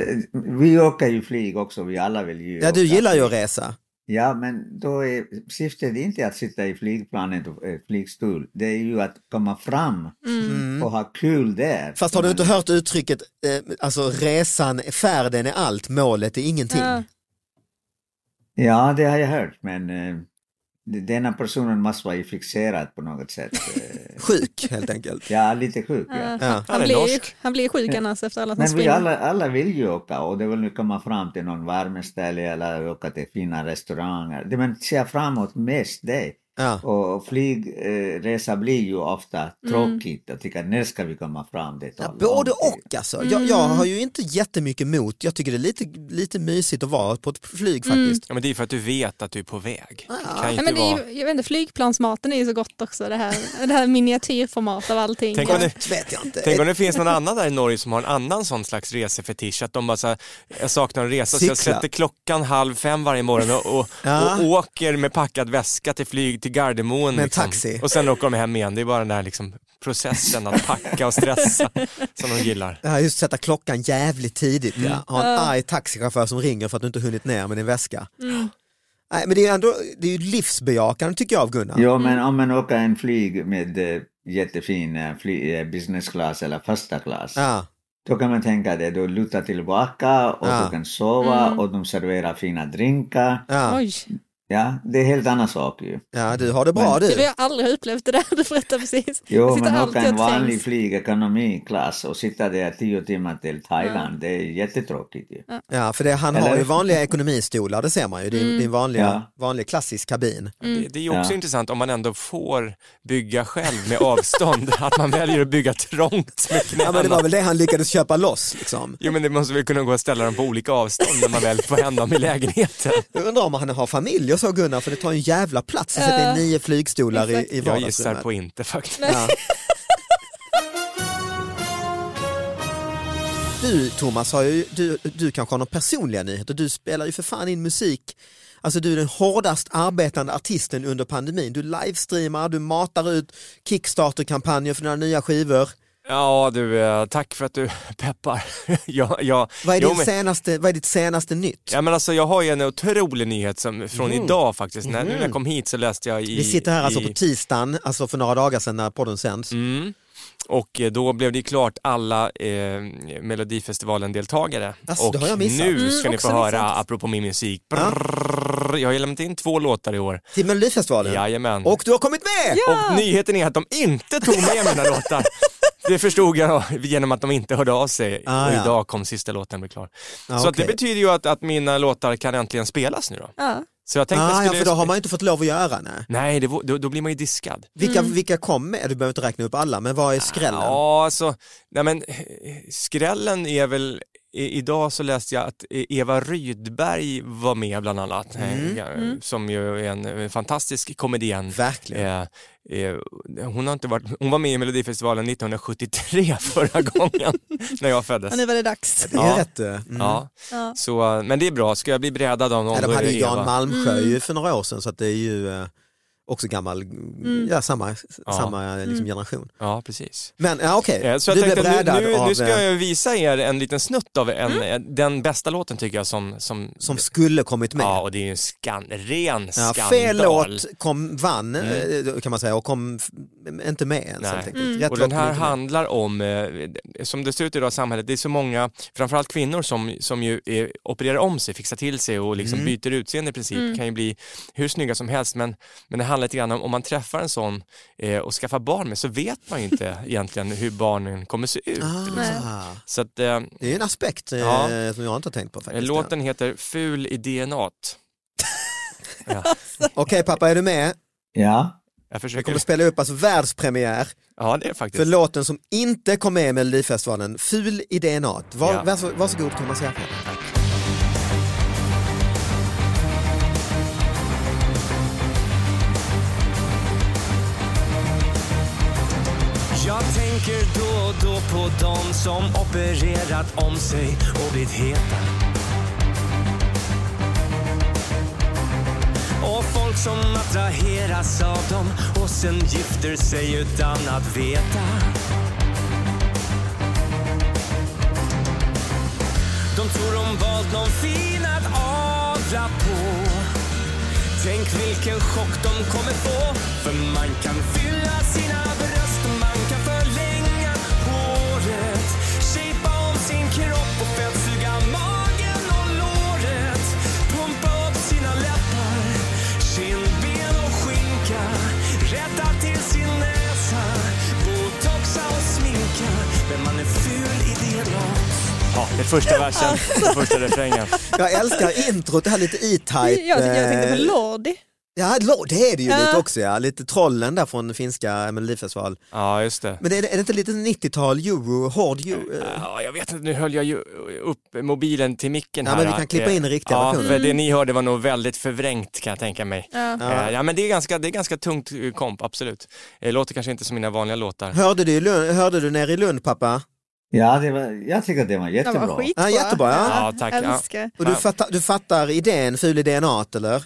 Speaker 4: vi åker ju flyg också, vi alla vill ju
Speaker 2: Ja, du
Speaker 4: åka.
Speaker 2: gillar ju att resa.
Speaker 4: Ja, men då är syftet inte att sitta i flygplanet och eh, flygstol. Det är ju att komma fram
Speaker 3: Mm.
Speaker 4: och ha kul där.
Speaker 2: Mm. Fast har du inte hört uttrycket, eh, alltså resan, färden är allt, målet är ingenting.
Speaker 3: Ja.
Speaker 4: Ja, det har jag hört, men eh, d- denna personen måste vara fixerad på något sätt. Eh,
Speaker 2: Sjuk helt
Speaker 3: [LAUGHS]
Speaker 2: enkelt.
Speaker 4: ja, lite sjuk. Ja.
Speaker 3: Ja.
Speaker 2: Ja.
Speaker 5: Han
Speaker 3: Han,
Speaker 5: är
Speaker 3: blir ju,
Speaker 5: norsk.
Speaker 3: han blir ju sjuk annars efter alla att han
Speaker 4: Men vi
Speaker 3: springer.
Speaker 4: alla, alla vill ju åka och det vill nu komma fram till någon värmeställe eller åka till fina restauranger. Det man ser framåt mest det.
Speaker 2: Ja.
Speaker 4: Och flygresa blir ju ofta tråkigt och tycker när ska vi komma fram? Det tar
Speaker 2: Mm. Ja,
Speaker 4: lång
Speaker 2: både
Speaker 4: tid.
Speaker 2: och alltså. Jag, jag
Speaker 3: Mm.
Speaker 2: har ju inte jättemycket emot, jag tycker det är lite, lite mysigt att vara på ett flyg faktiskt.
Speaker 5: Ja, men det är för att du vet att du är på väg. Det kan ju
Speaker 3: Nej,
Speaker 5: inte
Speaker 3: men det är,
Speaker 5: vara...
Speaker 3: ju- jag vet inte, flygplansmaten är ju så gott också, det här, det här miniatyrformat av allting.
Speaker 5: Tänk om det-
Speaker 2: Det vet jag inte.
Speaker 5: Tänk om det finns någon annan där i Norge som har en annan sån slags resefetisch, att de bara så här, jag saknar en resa så jag
Speaker 2: Cykla.
Speaker 5: sätter klockan halv fem varje morgon och, och,
Speaker 2: Ja.
Speaker 5: och åker med packad väska till flyg till Gardermoen. liksom.
Speaker 2: Med en taxi.
Speaker 5: Och sen åker de hem igen, det är bara den där liksom processen att packa
Speaker 2: [LAUGHS]
Speaker 5: och stressa som de gillar.
Speaker 2: Ja, just sätta klockan jävligt tidigt. Ja. Ha en arg taxichaufför som ringer för att du inte hunnit ner med din väska. Nej, men det är, ändå, det är ju livsbejakande tycker jag av Gunnar.
Speaker 4: Jo, men om man åker en flyg med eh, jättefin eh, fly, eh, business class eller första klass.
Speaker 2: Ja.
Speaker 4: Då kan man tänka det, du lutar tillbaka och
Speaker 2: Ja. Mm.
Speaker 4: du kan sova och de serverar fina drinkar.
Speaker 2: Ja.
Speaker 3: Oj,
Speaker 4: Ja, det är helt annan sak ju.
Speaker 2: ja, du har det bra
Speaker 3: det har
Speaker 2: du.
Speaker 3: jag aldrig upplevt det där du berättade precis.
Speaker 4: Jo,
Speaker 3: jag sitter
Speaker 4: men åka
Speaker 3: alltid
Speaker 4: en
Speaker 3: och
Speaker 4: vanlig
Speaker 3: trängs.
Speaker 4: flygekonomiklass och sitta där tio timmar till Thailand, det är jättetråkigt ju.
Speaker 2: Ja, för det, han har
Speaker 4: Eller?
Speaker 2: ju vanliga ekonomistolar, det ser man ju. Det är, det är en vanliga,
Speaker 4: Ja.
Speaker 2: vanlig klassisk kabin.
Speaker 3: Mm.
Speaker 5: Det, det är ju också
Speaker 4: Ja.
Speaker 5: intressant om man ändå får bygga själv med avstånd, att man väljer att bygga trångt med knäna.
Speaker 2: Ja, men det var väl det han lyckades köpa loss. Liksom.
Speaker 5: Jo men det måste väl kunna gå att ställa dem på olika avstånd när man väl får hem dem
Speaker 2: [LAUGHS]
Speaker 5: i lägenheten.
Speaker 2: Jag undrar om han har familj och så Gunnar, för det tar ju en jävla plats att sätta in
Speaker 3: Ja.
Speaker 2: nio flygstolar i, i
Speaker 3: Exakt.
Speaker 5: Jag gissar
Speaker 2: vardagsrummet.
Speaker 5: på inte faktiskt.
Speaker 2: Ja. Du Thomas, har ju, du, du kanske har några personliga nyheter. Du spelar ju för fan in musik. Alltså du är den hårdast arbetande artisten under pandemin. Du livestreamar, du matar ut Kickstarter-kampanjer för dina nya skivor.
Speaker 5: Ja du, eh, tack för att du [LAUGHS] peppar. ja, ja.
Speaker 2: Vad är,
Speaker 5: Jo,
Speaker 2: din
Speaker 5: men-
Speaker 2: senaste, vad är ditt senaste nytt?
Speaker 5: Ja, men alltså, jag har ju en otrolig nyhet som, från idag faktiskt. När, nu när jag kom hit så läste jag i...
Speaker 2: Mm. Vi sitter här alltså
Speaker 5: i,
Speaker 2: på tisdagen, alltså för några dagar sedan när podden sänds.
Speaker 5: mm, Och eh, då blev det ju klart alla eh, Melodifestivalen-deltagare.
Speaker 2: Alltså,
Speaker 5: och
Speaker 2: det har jag missat.
Speaker 5: nu
Speaker 3: Mm,
Speaker 5: ska ni få
Speaker 3: också
Speaker 5: höra,
Speaker 3: missat.
Speaker 5: apropå min musik, Brrrr, jag har ju lämnat in två låtar i år.
Speaker 2: Till Melodifestivalen.
Speaker 5: Jajamän.
Speaker 2: Och du har kommit med!
Speaker 5: Och nyheten är att de inte tog med mina låtar. Det förstod jag genom att de inte hörde av sig.
Speaker 2: Ah,
Speaker 5: och
Speaker 2: ja.
Speaker 5: idag kom sista låten bli klar.
Speaker 2: Ah,
Speaker 5: så att det
Speaker 2: okej.
Speaker 5: betyder ju att, att mina låtar kan äntligen spelas nu då.
Speaker 3: Ja.
Speaker 5: Så jag tänkte
Speaker 2: ah,
Speaker 5: jag
Speaker 2: ja,
Speaker 5: skulle...
Speaker 2: för då har man ju inte fått lov att göra. Nej.
Speaker 5: Nej, det, var- då, då blir man ju diskad.
Speaker 2: Vilka, vilka kom med? Du behöver inte räkna upp alla, men vad är skrällen?
Speaker 5: Mm. Ja, alltså, nej men eh, skrällen är väl, i, idag så läste jag att Eva Rydberg var med bland annat, eh,
Speaker 2: Mm.
Speaker 5: ja, som ju är en, en fantastisk komedian.
Speaker 2: Verkligen.
Speaker 5: Eh, eh, hon, har inte varit, hon var med i Melodifestivalen 1973 [LAUGHS] förra
Speaker 2: [LAUGHS]
Speaker 5: gången när jag föddes.
Speaker 3: Och nu var det dags.
Speaker 2: Det är
Speaker 5: Ja.
Speaker 2: rätt. eh, Mm.
Speaker 5: Ja,
Speaker 3: Ja.
Speaker 5: så, eh, men det är bra, ska jag bli brädad av någon
Speaker 2: Ja,
Speaker 5: då
Speaker 2: de
Speaker 5: är
Speaker 2: hade
Speaker 5: det
Speaker 2: ju Jan
Speaker 5: Eva.
Speaker 2: Malmsjö ju för några år sedan så att det är ju eh, också gammal, mm, ja, samma,
Speaker 5: Ja.
Speaker 2: samma liksom, generation.
Speaker 5: Ja, precis.
Speaker 2: Men ja, okej,
Speaker 5: Eh, Så jag
Speaker 2: du blev
Speaker 5: tänkte att
Speaker 2: brädad
Speaker 5: nu, nu,
Speaker 2: av
Speaker 5: nu ska
Speaker 2: eh, Mm.
Speaker 5: jag visa er en liten snutt av en, eh, den bästa låten tycker jag som, som,
Speaker 2: som skulle kommit med.
Speaker 5: Ja, och det är ju en skan, ren
Speaker 2: Ja,
Speaker 5: skandal. Mm.
Speaker 2: fel låt kom, vann eh, kan man säga och kom f- inte med ens
Speaker 5: Nej.
Speaker 2: helt enkelt. Rätt
Speaker 5: Och
Speaker 2: låt kom
Speaker 5: den här
Speaker 2: inte med.
Speaker 5: handlar om, eh, som det ser ut idag i samhället, det är så många, framförallt kvinnor som, som ju eh, opererar om sig, fixar till sig och
Speaker 2: Mm.
Speaker 5: liksom byter utseende i princip, kan ju bli hur snygga som helst men, men det handlar lite grann om, om man träffar en sån eh, och skaffar barn med så vet man ju
Speaker 2: [LAUGHS]
Speaker 5: inte egentligen hur barnen kommer se ut.
Speaker 2: Ah,
Speaker 5: Så att, eh,
Speaker 2: det är ju en aspekt eh,
Speaker 5: Ja.
Speaker 2: som jag inte har tänkt på faktiskt.
Speaker 5: låten heter Ful
Speaker 2: [LAUGHS]
Speaker 5: i DNAt.
Speaker 2: Okej pappa, är du med?
Speaker 4: Ja,
Speaker 5: Jag
Speaker 2: Vi kommer
Speaker 5: försöker...
Speaker 2: att spela upp alltså världspremiär
Speaker 5: Ja, det är faktiskt.
Speaker 2: för låten som inte kom med i Melodifestivalen, Ful i DNA. Var,
Speaker 5: Ja.
Speaker 2: vars, varsågod Thomas Järvheden.
Speaker 1: Jag tänker då och då på dem som opererat om sig och blivit heta. Och folk som attraheras av dem och sen gifter sig utan att veta. De tror de valt någon fin att avla på. Tänk vilken chock de kommer få För man kan fylla sina bröst Man kan förlänga håret Shapea om sin kropp och fettsuga magen och låret Pumpa upp sina läppar Kindben och skinka Rätta till sin näsa Botoxa och sminka Men man är ful i DNA
Speaker 5: Ja, det är första versen, det är första refrängen.
Speaker 2: Jag älskar introt, det här lite E-Type.
Speaker 3: Jag, jag tänkte
Speaker 2: eh,
Speaker 3: på Lordi.
Speaker 2: Ja, lo- det är det ju
Speaker 3: Ja.
Speaker 2: lite också ja. Lite trollen där från finska Melodifestival.
Speaker 5: Ja, just det.
Speaker 2: Men är det, är det inte lite 90-tal euro, hård euro? eh,
Speaker 5: Ja, jag vet inte, nu höll jag ju upp mobilen till micken
Speaker 2: Ja,
Speaker 5: här. eh,
Speaker 2: men vi kan klippa in den riktiga
Speaker 5: Ja,
Speaker 2: versionen.
Speaker 5: för det ni hörde var nog väldigt förvrängt kan jag tänka mig.
Speaker 3: Ja.
Speaker 5: Eh, Ja, men det är ganska, det är ganska tungt eh, komp, absolut. Eh, Låter kanske inte som mina vanliga låtar.
Speaker 2: Hörde du, i Lund, hörde du nere i Lund pappa?
Speaker 4: ja det var, jag tycker det var
Speaker 3: Den
Speaker 4: jättebra.
Speaker 3: var skitbra.
Speaker 2: Ja, jättebra, ja.
Speaker 5: Ja, tack, ja.
Speaker 3: Älskar.
Speaker 2: Och du,
Speaker 5: Ja.
Speaker 2: fattar, du fattar idén, ful i DNA eller?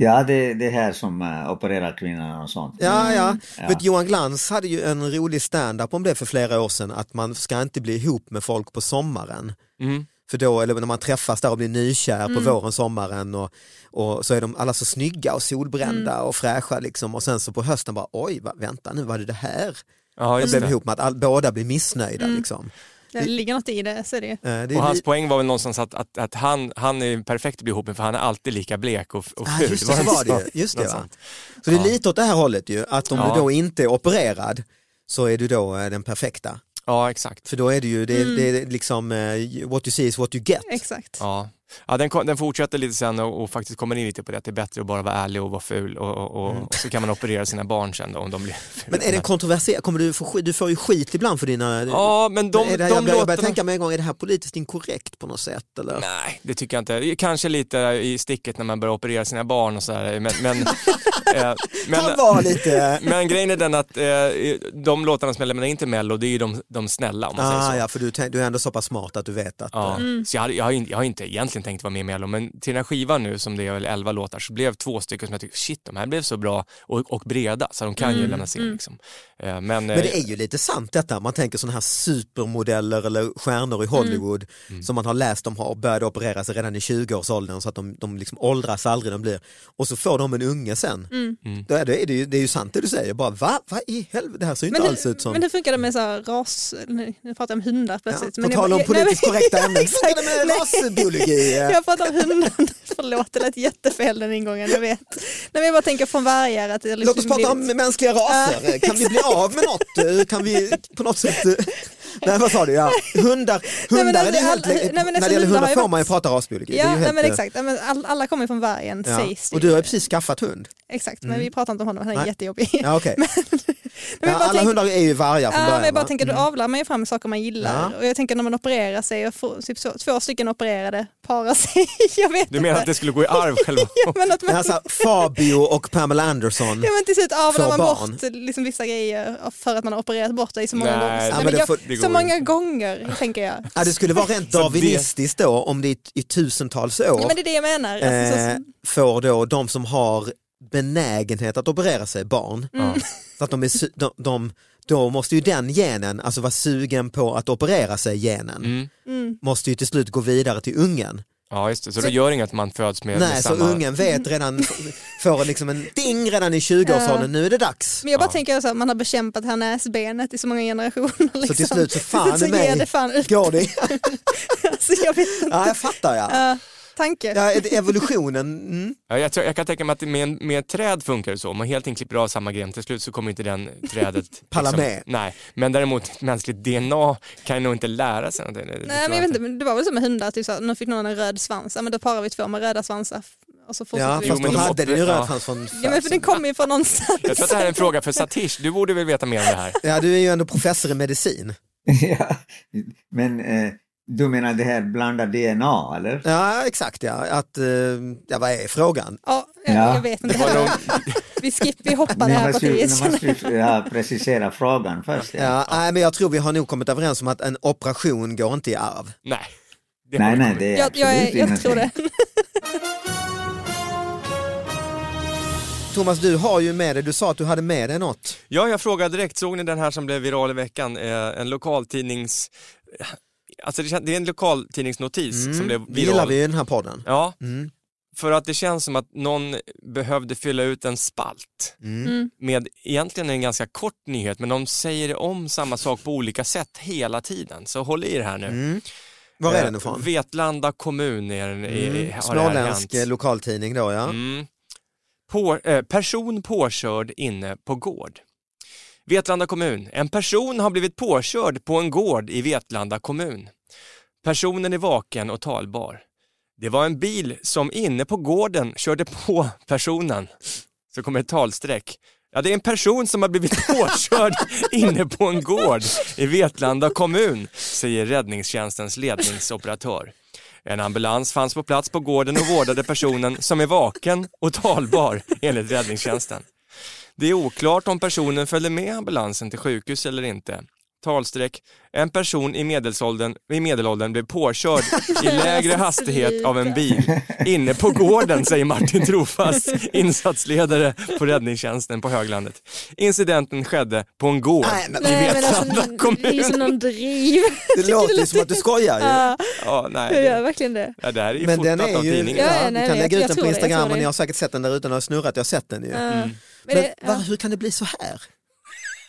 Speaker 4: Ja, det, det här som eh, opererar kvinnorna och sånt.
Speaker 3: Mm,
Speaker 2: Ja, ja.
Speaker 4: Ja.
Speaker 2: Vet, Johan Glans hade ju en rolig stand-up om det för flera år sedan, att man ska inte bli ihop med folk på sommaren.
Speaker 5: Mm.
Speaker 2: För då, eller när man träffas där och blir nykär på våren, sommaren och, och så är de alla så snygga och solbrända
Speaker 5: Mm.
Speaker 2: och fräscha liksom och sen så på hösten bara oj, va, vänta nu, vad är det här?
Speaker 5: Ja,
Speaker 2: Jag
Speaker 5: just
Speaker 2: blev
Speaker 5: det. Mm.
Speaker 2: ihop med att all, båda blir missnöjda liksom.
Speaker 3: Det ligger något i det, så är det ju.
Speaker 2: Eh, det är
Speaker 5: Och hans
Speaker 2: li-
Speaker 5: poäng var väl någonstans att, att, att han, han är perfekt att bli ihop med för han är alltid lika blek och, och
Speaker 2: Ah,
Speaker 5: ful.
Speaker 2: just det, så
Speaker 5: inte
Speaker 2: var det ju. Just det,
Speaker 5: Något
Speaker 2: va?
Speaker 5: sånt.
Speaker 2: Så det är
Speaker 5: Ja.
Speaker 2: lite åt det här hållet ju, att om
Speaker 5: Ja.
Speaker 2: du då inte är opererad så är du då eh, den perfekta.
Speaker 5: Ja, exakt. Mm.
Speaker 2: För då är det ju, det, det är liksom eh, what you see is what you get.
Speaker 3: Exakt.
Speaker 5: Ja. Ja, den, ko- den fortsätter lite sen och, och faktiskt kommer in lite på det att det är bättre att bara vara ärlig och vara ful och, och, och, och så kan man operera sina barn sen då om de blir fula.
Speaker 2: Mm. Men är den kontroversiell? Kommer du, få, skit- du får ju skit ibland för dina...
Speaker 5: Ja, men de,
Speaker 2: är det,
Speaker 5: de
Speaker 2: jag, börjar, jag börjar
Speaker 5: låtarna...
Speaker 2: tänka mig en gång, är det här politiskt inkorrekt på något sätt? Eller?
Speaker 5: Nej, det tycker jag inte. Kanske lite i sticket när man börjar operera sina barn och sådär. Men,
Speaker 2: [LAUGHS]
Speaker 5: men, eh, men,
Speaker 2: Kan vara
Speaker 5: [LAUGHS]
Speaker 2: lite...
Speaker 5: men grejen är den att eh, de låtarna som jag lämnar in till Mello, det är ju de, de snälla om man säger så.
Speaker 2: Ah, ja, för du, tän- du är ändå så pass smart att du vet att...
Speaker 5: Ja. Så jag, hade, jag, har in, jag har inte egentligen tänkt vara med i Mello, men till den här skivan nu som det är väl 11 låtar så blev två stycken som jag tyckte, shit de här blev så bra och, och breda så de kan ju lämnas in. Liksom. Eh, Men,
Speaker 2: Men det är ju lite sant detta, man tänker sådana här supermodeller eller stjärnor i Hollywood
Speaker 5: Mm.
Speaker 2: som man har läst om har börjat operera sig redan i 20-årsåldern så att de, de liksom åldras aldrig de blir. Och så får de en unge sen.
Speaker 3: Mm.
Speaker 5: Mm.
Speaker 2: Då är det, är det, ju, det är ju sant det du säger, bara va, vad i helvete, det här ser ju inte alls ut som...
Speaker 3: men hur funkar det med så här ras, nu nu pratar jag om hundar
Speaker 2: Ja,
Speaker 3: plötsligt.
Speaker 2: på
Speaker 3: men
Speaker 2: tal om
Speaker 3: jag, nej, men-
Speaker 2: politiskt
Speaker 3: [LAUGHS]
Speaker 2: korrekta ämnen, hur funkar det med
Speaker 3: Nej.
Speaker 2: rasbiologi? eh.
Speaker 3: Jag pratar om hundar, [LAUGHS] förlåt det lät jättefel den ingången, jag vet. Nej, men jag bara tänker från vargar att det liksom
Speaker 2: Låt oss prata om
Speaker 3: blivit-
Speaker 2: mänskliga raser, kan vi bli av med något? Kan vi på något sätt... [LAUGHS] Nej vad sa du? Ja. Hundar,
Speaker 3: eh, men
Speaker 2: hundar är det helt...
Speaker 3: alltså, all- nej, men
Speaker 2: när
Speaker 3: alltså,
Speaker 2: det gäller
Speaker 3: hundar har
Speaker 2: hundar
Speaker 3: ju
Speaker 2: får
Speaker 3: varit-
Speaker 2: man ju prata rasbiologi. Det är
Speaker 3: Ja,
Speaker 2: ju
Speaker 3: nej,
Speaker 2: helt,
Speaker 3: men
Speaker 2: eh,
Speaker 3: exakt. Ja, men all- alla kommer från vargen
Speaker 2: Ja.
Speaker 3: sägs det
Speaker 2: Och
Speaker 3: ju.
Speaker 2: du har ju precis skaffat hund.
Speaker 3: Exakt, men vi pratar inte om honom, han är
Speaker 2: Nej.
Speaker 3: jättejobbig.
Speaker 2: Ja, okej.
Speaker 3: [LAUGHS] men
Speaker 2: Ja,
Speaker 3: jag bara
Speaker 2: alla
Speaker 3: tänker-
Speaker 2: hundar är ju vargar från
Speaker 3: Ja,
Speaker 2: början.
Speaker 3: men jag
Speaker 2: va?
Speaker 3: bara
Speaker 2: Mm.
Speaker 3: tänker, då avlar man ju fram saker man gillar.
Speaker 2: Ja.
Speaker 3: Och jag tänker när man opererar sig, och får, typ så, två stycken opererade parar sig. [LAUGHS] Jag vet
Speaker 5: Du menar att
Speaker 3: inte.
Speaker 5: det skulle gå i arv själva?
Speaker 3: [LAUGHS] Ja, men att man,
Speaker 2: Men alltså, Fabio och Pamela Anderson.
Speaker 3: ja, men till slut avlar
Speaker 2: Får
Speaker 3: man
Speaker 2: barn.
Speaker 3: bort liksom, vissa grejer för att man har opererat bort det i så många,
Speaker 5: Nej,
Speaker 3: gånger.
Speaker 5: ja,
Speaker 3: Nej,
Speaker 2: men det
Speaker 3: jag,
Speaker 2: får-
Speaker 5: det går
Speaker 3: så
Speaker 5: ju
Speaker 3: många gånger, tänker jag.
Speaker 2: Ja, det skulle vara rent darwinistiskt då om det i, i tusentals år
Speaker 3: Ja, men det är det jag menar. Alltså, så,
Speaker 2: eh, får då de som har benägenhet att operera sig barn. Så att de är su- de, de, då måste ju den genen, alltså vara sugen på att operera sig genen,
Speaker 5: Mm.
Speaker 2: måste ju till slut gå vidare till ungen.
Speaker 5: Ja, just det. Så, då gör inget att man föds med,
Speaker 2: Nej,
Speaker 5: med
Speaker 2: så
Speaker 5: samma...
Speaker 2: ungen vet redan, får liksom en ding redan i 20-årsåldern, nu är det dags.
Speaker 3: men jag bara
Speaker 5: Ja.
Speaker 3: tänker att man har bekämpat här näsbenet i så många generationer. Liksom.
Speaker 2: Så till slut så fan
Speaker 3: [LAUGHS] så
Speaker 2: i mig
Speaker 3: ger det fan upp.
Speaker 2: går det.
Speaker 3: Alltså, jag vet inte.
Speaker 2: Ja, jag fattar ja.
Speaker 3: Ja, tanke.
Speaker 2: ja ed- evolutionen, mm.
Speaker 5: Ja, jag, tror, jag kan tänka mig att med, en- med ett träd funkar det så. Om man helt enkelt klipper av samma gren till slut så kommer inte den trädet... liksom-
Speaker 2: Palla med.
Speaker 5: Nej, men däremot ett mänskligt DNA kan ju nog inte lära sig någonting. Det- det tror
Speaker 3: Nej men jag vet inte, men det var väl som med hundar, typ så här, nu fick någon en röd svans, ja, men då parar vi två med röda svansar f- och så fortsätter
Speaker 2: ja,
Speaker 3: vi.
Speaker 5: Jo,
Speaker 2: fast
Speaker 5: men
Speaker 2: de
Speaker 5: de
Speaker 2: hade den ju
Speaker 5: opererar-
Speaker 2: redan fanns från
Speaker 3: Ja, men för den kommer ju från någonstans.
Speaker 5: Jag tror att det här är en fråga för Satish. Du borde väl veta mer om det här?
Speaker 2: Ja, du är ju ändå professor i medicin.
Speaker 4: [LAUGHS] ja. Men eh, du menar det här blandade DNA, eller?
Speaker 2: Ja, exakt ja. Att, eh, ja vad är frågan?
Speaker 3: Ja, jag,
Speaker 4: Ja.
Speaker 3: jag vet inte.
Speaker 5: Det var nog-
Speaker 3: Vi skippar, vi hoppar det
Speaker 4: Nu
Speaker 3: här
Speaker 4: måste vi,
Speaker 3: partiet.
Speaker 4: nu måste vi ja, precisera frågan först.
Speaker 2: Ja, Nej, men jag tror vi har nog kommit överens om att en operation går inte i arv.
Speaker 5: Nej. Det har
Speaker 4: Nej,
Speaker 5: vi
Speaker 4: nej,
Speaker 5: kommit-
Speaker 4: det är
Speaker 3: Jag, jag, är-
Speaker 4: absolut
Speaker 3: jag tror det.
Speaker 4: ingenting.
Speaker 2: Thomas, du har ju med dig, du sa att du hade med dig något.
Speaker 5: Ja, jag frågade direkt, såg ni den här som blev viral i veckan? Eh, en lokaltidnings... Alltså det, kän- det är en lokaltidningsnotis som blev
Speaker 2: Mm. Det gillar
Speaker 5: viral.
Speaker 2: vi ju i den här podden.
Speaker 5: Ja,
Speaker 2: Mm.
Speaker 5: för att det känns som att någon behövde fylla ut en spalt
Speaker 2: Mm.
Speaker 5: med egentligen en ganska kort nyhet, men de säger om samma sak på olika sätt hela tiden. Så håll i er här nu.
Speaker 2: Mm. Var är
Speaker 5: Eh,
Speaker 2: den ifrån?
Speaker 5: Vetlanda kommun är, den- är,
Speaker 2: Mm.
Speaker 5: har det här
Speaker 2: Småländsk
Speaker 5: hänt.
Speaker 2: eh, lokaltidning då ja.
Speaker 5: Mm. På, eh, person påkörd inne på gård. Vetlanda kommun. En person har blivit påkörd på en gård i Vetlanda kommun. Personen är vaken och talbar. Det var en bil som inne på gården körde på personen. Så kommer ett talstreck. Ja, det är en person som har blivit [LAUGHS] påkörd inne på en gård i Vetlanda kommun, säger räddningstjänstens ledningsoperatör. En ambulans fanns på plats på gården och vårdade personen som är vaken och talbar enligt räddningstjänsten. Det är oklart om personen följde med ambulansen till sjukhus eller inte. Talstreck. En person i medelåldern, i medelåldern blev påkörd i lägre hastighet av en bil inne på gården, säger Martin Trofast, insatsledare på räddningstjänsten på Höglandet. Incidenten skedde på en gård
Speaker 2: Nej, men-
Speaker 5: i
Speaker 6: Nej, men
Speaker 5: Vetlanda
Speaker 6: alltså, det är ju
Speaker 5: kommun.
Speaker 6: som någon driv.
Speaker 2: Det låter ju som att du skojar ju.
Speaker 3: [LAUGHS] Ja,
Speaker 5: Ja, nej,
Speaker 3: jag gör
Speaker 5: det,
Speaker 3: verkligen det.
Speaker 5: ja, det här är ju
Speaker 2: Men den
Speaker 5: fotat
Speaker 2: är
Speaker 5: av
Speaker 2: ju,
Speaker 5: tidningen.
Speaker 3: Ja, ja,
Speaker 2: ja,
Speaker 3: nej,
Speaker 2: du kan
Speaker 3: jag-
Speaker 2: lägga
Speaker 3: jag
Speaker 2: ut den
Speaker 3: tror
Speaker 2: på
Speaker 3: det, jag
Speaker 2: Instagram
Speaker 3: tror
Speaker 2: och
Speaker 3: det.
Speaker 2: ni har säkert sett den där utan att ha snurrat, jag har sett den ju.
Speaker 3: Ja. Men
Speaker 2: Men
Speaker 3: det,
Speaker 2: va,
Speaker 3: ja.
Speaker 2: hur kan det bli så här?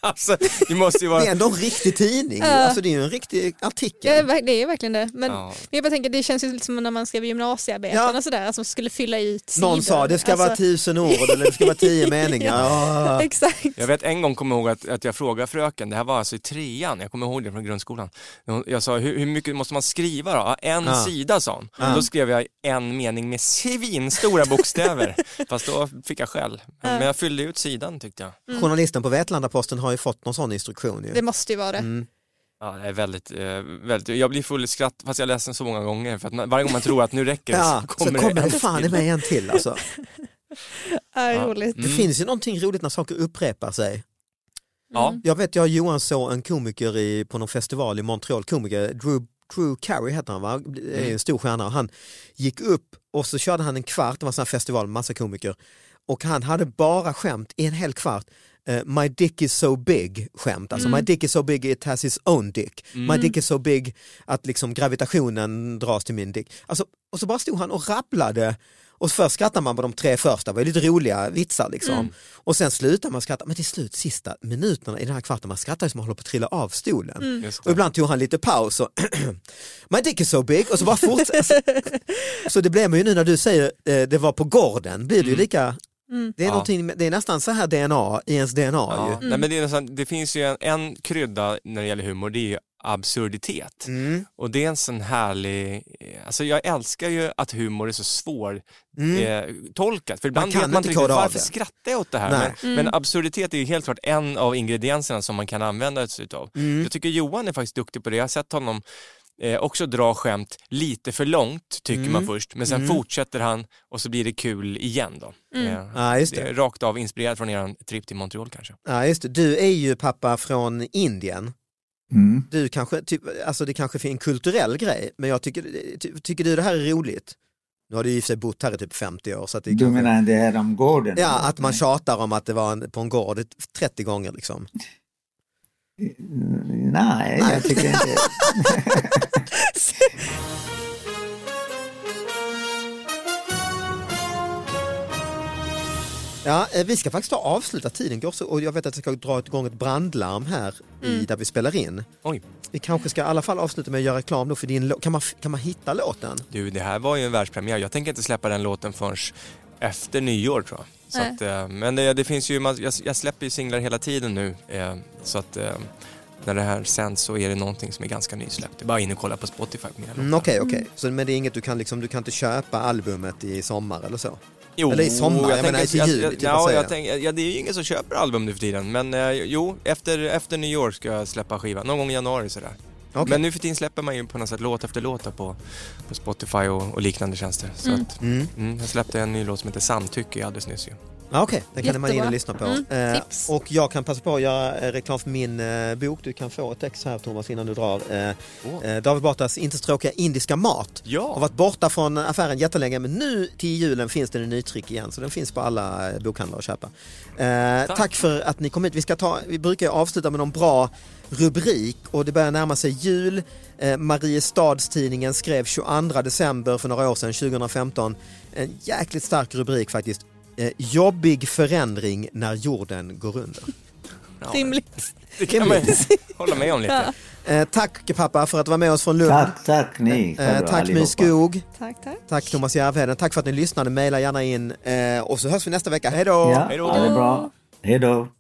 Speaker 5: alltså, det måste ju vara...
Speaker 2: Det är ändå en riktig tidning, alltså det är ju en riktig
Speaker 3: Ja, det är
Speaker 2: artikel.
Speaker 3: verk- det är verkligen det. Men,
Speaker 5: Ja.
Speaker 3: men jag bara tänker, det känns ju lite som när man skrev gymnasiearbeten
Speaker 2: Ja.
Speaker 3: och sådär, alltså, man skulle fylla ut sidor.
Speaker 2: Någon sa det ska vara
Speaker 3: Alltså,
Speaker 2: tusen ord eller det ska vara
Speaker 3: [LAUGHS]
Speaker 2: tio meningar. Ah.
Speaker 3: Exakt.
Speaker 5: Jag vet en gång kommer jag ihåg att, att jag frågade fröken, det här var alltså i trean, jag kommer ihåg det från grundskolan. Hon- Jag sa, hur, hur mycket måste man skriva då? Ja, en
Speaker 2: Ja.
Speaker 5: sida sa hon. Då skrev jag en mening med
Speaker 2: [LAUGHS]
Speaker 5: svinstora bokstäver. Fast då fick jag skäll. Men jag fyllde ut sidan tyckte jag.
Speaker 3: Mm.
Speaker 2: Journalisten på Vetlanda-Posten har ju fått någon sån instruktion. Ju.
Speaker 3: Det måste ju vara det.
Speaker 5: Ja, det är väldigt, eh, väldigt, jag blir full i skratt fast jag läser den så många gånger. För att när- varje gång man tror att nu räcker det
Speaker 2: Ja,
Speaker 5: så
Speaker 2: så
Speaker 5: kommer
Speaker 2: kommer
Speaker 5: det
Speaker 2: det
Speaker 5: en
Speaker 2: fan i
Speaker 5: till. Mm.
Speaker 2: mig en till alltså.
Speaker 3: Ja,
Speaker 5: Ja.
Speaker 3: roligt.
Speaker 2: Det finns ju någonting roligt när saker upprepar sig.
Speaker 5: Ja,
Speaker 2: Jag vet, jag och Johan såg en komiker i, på någon festival i Montreal, komiker, Drew, Drew Carey heter han va? Det
Speaker 5: Mm.
Speaker 2: är en stor stjärna. Och han gick upp och så körde han en kvart, det var en sån här festival med massa komiker. Och han hade bara skämt i en hel kvart. Eh, My dick is so big skämt, alltså
Speaker 5: Mm.
Speaker 2: my dick is so big it has his own dick. My dick is so big att liksom gravitationen dras till min dick. Alltså, och så bara stod han och rabblade och först skrattar man på de tre första, det var ju lite roliga vitsar liksom. Och sen slutar man skratta, men till slut sista minuterna i den här kvarten, man skrattar ju som man håller på att trilla av stolen.
Speaker 5: just
Speaker 2: Och
Speaker 5: det.
Speaker 2: ibland tog han lite paus och [CLEARS THROAT] My dick is so big och så bara fortsätter. så det blev man ju nu när du säger eh, det var på gården, blir det ju lika Det är,
Speaker 5: Ja.
Speaker 2: någonting, med- det är nästan så här DNA i ens DNA
Speaker 5: Ja,
Speaker 2: ju.
Speaker 5: Nej, men det, är nästan, det finns ju en, en krydda när det gäller humor, det är ju absurditet.
Speaker 2: Mm.
Speaker 5: Och det är en sån härlig, eh, alltså jag älskar ju att humor är så svår eh, tolkat. För ibland
Speaker 2: Mm. kan
Speaker 5: vet man
Speaker 2: inte
Speaker 5: inte riktigt,
Speaker 2: koda av
Speaker 5: varför
Speaker 2: det.
Speaker 5: skrattar jag åt det här?
Speaker 2: Nej.
Speaker 5: Men, men absurditet är ju helt klart en av ingredienserna som man kan använda sig utav.
Speaker 2: Mm.
Speaker 5: Jag tycker Johan är faktiskt duktig på det, jag har sett honom Eh, också dra skämt lite för långt tycker
Speaker 2: Mm.
Speaker 5: man först men sen fortsätter han och så blir det kul igen då. Eh,
Speaker 2: Mm. Ja, just det.
Speaker 5: är Rakt av inspirerad från er tripp till Montreal kanske.
Speaker 2: Ja, just det. Du är ju pappa från Indien.
Speaker 4: Mm.
Speaker 2: Du kanske, typ, alltså det kanske är en kulturell grej, men jag tycker, ty, tycker du det här är roligt? Nu har du ju i och för sig bott här i typ 50 år. Så att det
Speaker 4: Du
Speaker 2: kanske-
Speaker 4: menar det här om gården?
Speaker 2: Ja, att man tjatar om att det var en, på en gård 30 gånger liksom.
Speaker 4: Mm, Nej, jag tycker
Speaker 3: [LAUGHS]
Speaker 4: inte
Speaker 2: Ja, eh, vi ska faktiskt ta och avsluta tiden går så, och jag vet att jag ska dra igång ett brandlarm här i, där vi spelar in.
Speaker 5: Oj.
Speaker 2: Vi kanske ska i alla fall avsluta med att göra reklam då för din låt. Kan man, f- kan man hitta låten?
Speaker 5: Du, det här var ju en världspremiär. Jag tänker inte släppa den låten förrän efter nyår tror jag. Så
Speaker 3: Nej.
Speaker 5: att, eh, men det, det finns ju, jag, jag släpper ju singlar hela tiden nu. Eh, så att eh, när det här sänds så är det någonting som är ganska nysläppt. Det är bara in och kolla på Spotify på mina
Speaker 2: Mm,
Speaker 5: låtar.
Speaker 2: Okej, okej. Så Men det är inget du kan, liksom, du kan inte köpa albumet i sommar eller så?
Speaker 5: Jo,
Speaker 2: Eller i sommar, jag menar,
Speaker 5: tänker-
Speaker 2: till jul,
Speaker 5: jag,
Speaker 2: typ, vad
Speaker 5: ja,
Speaker 2: säger
Speaker 5: jag
Speaker 2: jag?
Speaker 5: tänker- ja, det är ju ingen som köper album nu för tiden. Men eh, jo, efter, efter nyår ska jag släppa skivan. Någon gång i januari sådär.
Speaker 2: Okej.
Speaker 5: Men nu för tiden släpper man ju på något sätt låt efter låt då på, på Spotify och, och liknande tjänster. Så att,
Speaker 2: Mm.
Speaker 5: mm, jag släppte en ny låt som heter Samtycke alldeles nyss ju.
Speaker 2: Ja, Okej, den kan man in och lyssna
Speaker 3: Jättebra.
Speaker 2: på.
Speaker 3: Mm,
Speaker 2: Eh,
Speaker 3: tips.
Speaker 2: och jag kan passa på att göra eh, reklam för min eh, bok. Du kan få ett ex här Thomas innan du drar. Eh,
Speaker 5: Åh.
Speaker 2: eh, David Batras Inte så tråkiga indiska mat.
Speaker 5: Ja.
Speaker 2: Har varit borta från affären jättelänge men nu till julen finns den i nytryck igen så den finns på alla eh, bokhandlar att köpa. Eh, tack.
Speaker 5: Tack.
Speaker 2: för att ni kom hit. Vi, ska ta, vi brukar ju avsluta med någon bra rubrik och det börjar närma sig jul. Eh, Mariestadstidningen skrev 22 december för några år sedan, 2015, en jäkligt stark rubrik faktiskt. Eh, jobbig förändring när jorden går under.
Speaker 5: Ja,
Speaker 3: Rimligt.
Speaker 5: Det kan man ju [LAUGHS] hålla med om lite.
Speaker 2: Eh, tack pappa för att du var med oss från Lund.
Speaker 4: Tack, tack ni.
Speaker 2: eh, tack My Skog.
Speaker 3: Tack, tack.
Speaker 2: Tack Thomas Järvheden. Tack för att ni lyssnade. Maila gärna in eh, och så hörs vi nästa vecka. Hej då!
Speaker 4: Ja,
Speaker 5: Hej
Speaker 4: Hej
Speaker 5: då.
Speaker 4: då. Ha det bra. Hej då.